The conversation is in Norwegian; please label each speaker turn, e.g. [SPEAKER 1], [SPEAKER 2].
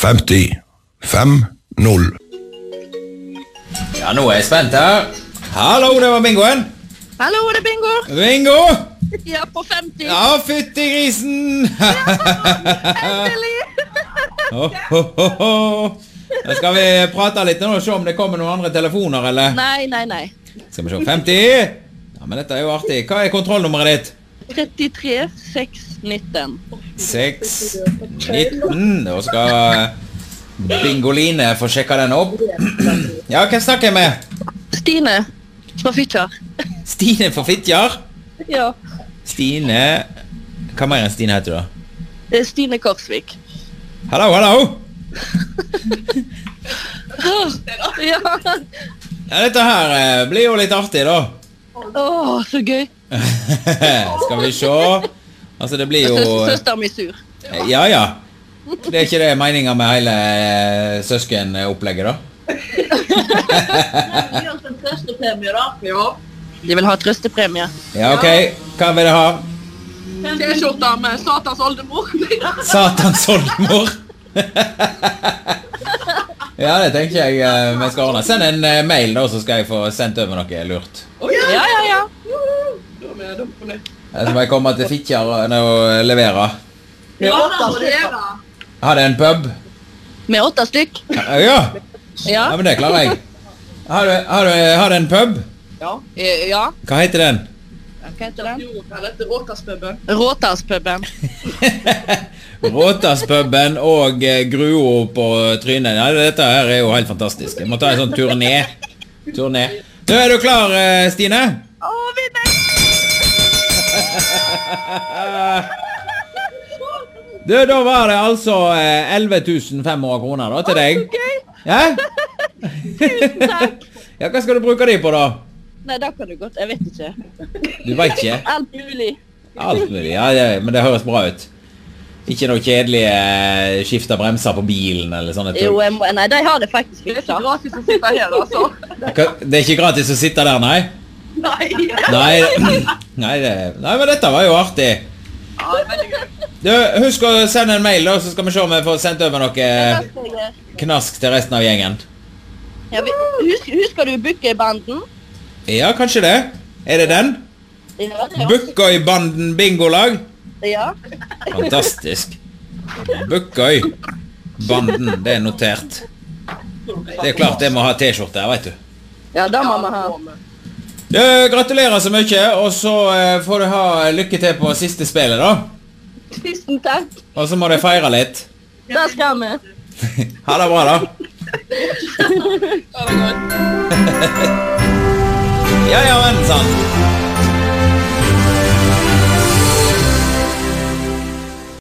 [SPEAKER 1] 50 5-0.
[SPEAKER 2] Ja, nå er jeg spent her. Hallo, det var bingoen.
[SPEAKER 3] Hallo, det er bingo!
[SPEAKER 2] Bingo!
[SPEAKER 3] Ja, på 50.
[SPEAKER 2] Ja, fytti grisen!
[SPEAKER 3] Endelig!
[SPEAKER 2] Ho, ho, ho, ho. Da skal vi prate litt nå og se om det kommer noen andre telefoner, eller?
[SPEAKER 3] Nei, nei, nei.
[SPEAKER 2] Skal vi se. 50! Ja, men dette er jo artig. Hva er kontrollnummeret ditt?
[SPEAKER 3] 33 6 19.
[SPEAKER 2] 6, 19, og skal Bingoline få sjekka den opp. Ja, hvem snakker jeg med?
[SPEAKER 3] Stine fra Fitjar.
[SPEAKER 2] Stine fra Fitjar?
[SPEAKER 3] Ja.
[SPEAKER 2] Stine Hva mer enn Stine heter du, da?
[SPEAKER 3] Det er Eh, Stine Korsvik.
[SPEAKER 2] Hallo, hallo!
[SPEAKER 3] Ja.
[SPEAKER 2] Ja, dette her eh, blir jo litt artig, da.
[SPEAKER 3] Åh, så gøy.
[SPEAKER 2] Skal vi sjå. Altså, det blir jo eh,
[SPEAKER 3] Søs- Søsteren min sur.
[SPEAKER 2] Ja, ja. Det er ikke det meninga med hele eh, søskenopplegget, da?
[SPEAKER 3] De vil ha trøstepremie.
[SPEAKER 2] Ja, OK. Hva vil dere ha?
[SPEAKER 4] T-skjorta med Satans oldemor.
[SPEAKER 2] Satans oldemor. ja, det tenker jeg eh, vi skal ordne. Send en eh, mail, da, så skal jeg få sendt over noe lurt.
[SPEAKER 3] Ja, ja, ja.
[SPEAKER 4] Da er vi dem på nytt.
[SPEAKER 2] Eh, Så må jeg komme til Fitjar og nei, og levere.
[SPEAKER 4] Rana Morena.
[SPEAKER 2] Har det en pub?
[SPEAKER 3] Med åtte stykk.
[SPEAKER 2] Ja, ja.
[SPEAKER 3] Ja.
[SPEAKER 2] ja, men det klarer jeg. Har du, har du, har du en pub?
[SPEAKER 3] Eh, Ja.
[SPEAKER 2] Hva heter den?
[SPEAKER 3] Hva heter den?
[SPEAKER 4] Jo, eller til Råtasspuben.
[SPEAKER 3] Råtarspuben.
[SPEAKER 2] Råtasspuben og eh, Gruo på trynet. Nei, dette her er jo helt fantastisk. Jeg må ta en sånn turné. Turné. Nå er du klar, eh, Stine?
[SPEAKER 3] Å, vinner!
[SPEAKER 2] Du, da var det altså eh, 11 500 kroner da, til deg.
[SPEAKER 3] Gøy!
[SPEAKER 2] Ja? ja, hva skal du bruke de på, da?
[SPEAKER 3] Nei, da kan du godt. Jeg vet ikke.
[SPEAKER 2] Du veit ikke?
[SPEAKER 3] Alt mulig.
[SPEAKER 2] Alt mulig. Ja, det, men det høres bra ut. Ikke noe kjedelige eh, skift av bremser på bilen eller sånne
[SPEAKER 3] Jo, eh,
[SPEAKER 2] tull.
[SPEAKER 3] jeg må, nei, de har det faktisk
[SPEAKER 4] Det er
[SPEAKER 3] fiksa.
[SPEAKER 4] ikke gratis å sitte her, altså.
[SPEAKER 2] Hva- Det er ikke gratis å sitte der, nei?
[SPEAKER 4] Nei.
[SPEAKER 2] Nei, nei, det, nei, men dette var jo artig.
[SPEAKER 4] Ja, veldig gøy.
[SPEAKER 2] Du, husk å sende en mail, da, så skal vi se om vi får sendt over noe eh, knask til resten av gjengen.
[SPEAKER 3] Ja, vi, husk, husker du Bukkøybanden?
[SPEAKER 2] Ja, kanskje det. Er det den?
[SPEAKER 3] Ja, det er også-
[SPEAKER 2] Bukkøybanden bingolag?
[SPEAKER 3] ja.
[SPEAKER 2] Fantastisk. Bukkøy. Banden, det er notert. Det er klart det må ha T-skjorte her, veit du.
[SPEAKER 3] ja, da må vi ha.
[SPEAKER 2] du. Gratulerer så mye, og så eh, får du ha lykke til på siste spillet, da.
[SPEAKER 3] Tusen takk.
[SPEAKER 2] Og så må du feire litt.
[SPEAKER 3] Det skal vi.
[SPEAKER 2] Ha det bra, da.
[SPEAKER 4] Ha det godt.
[SPEAKER 2] Ja, ja, men sant.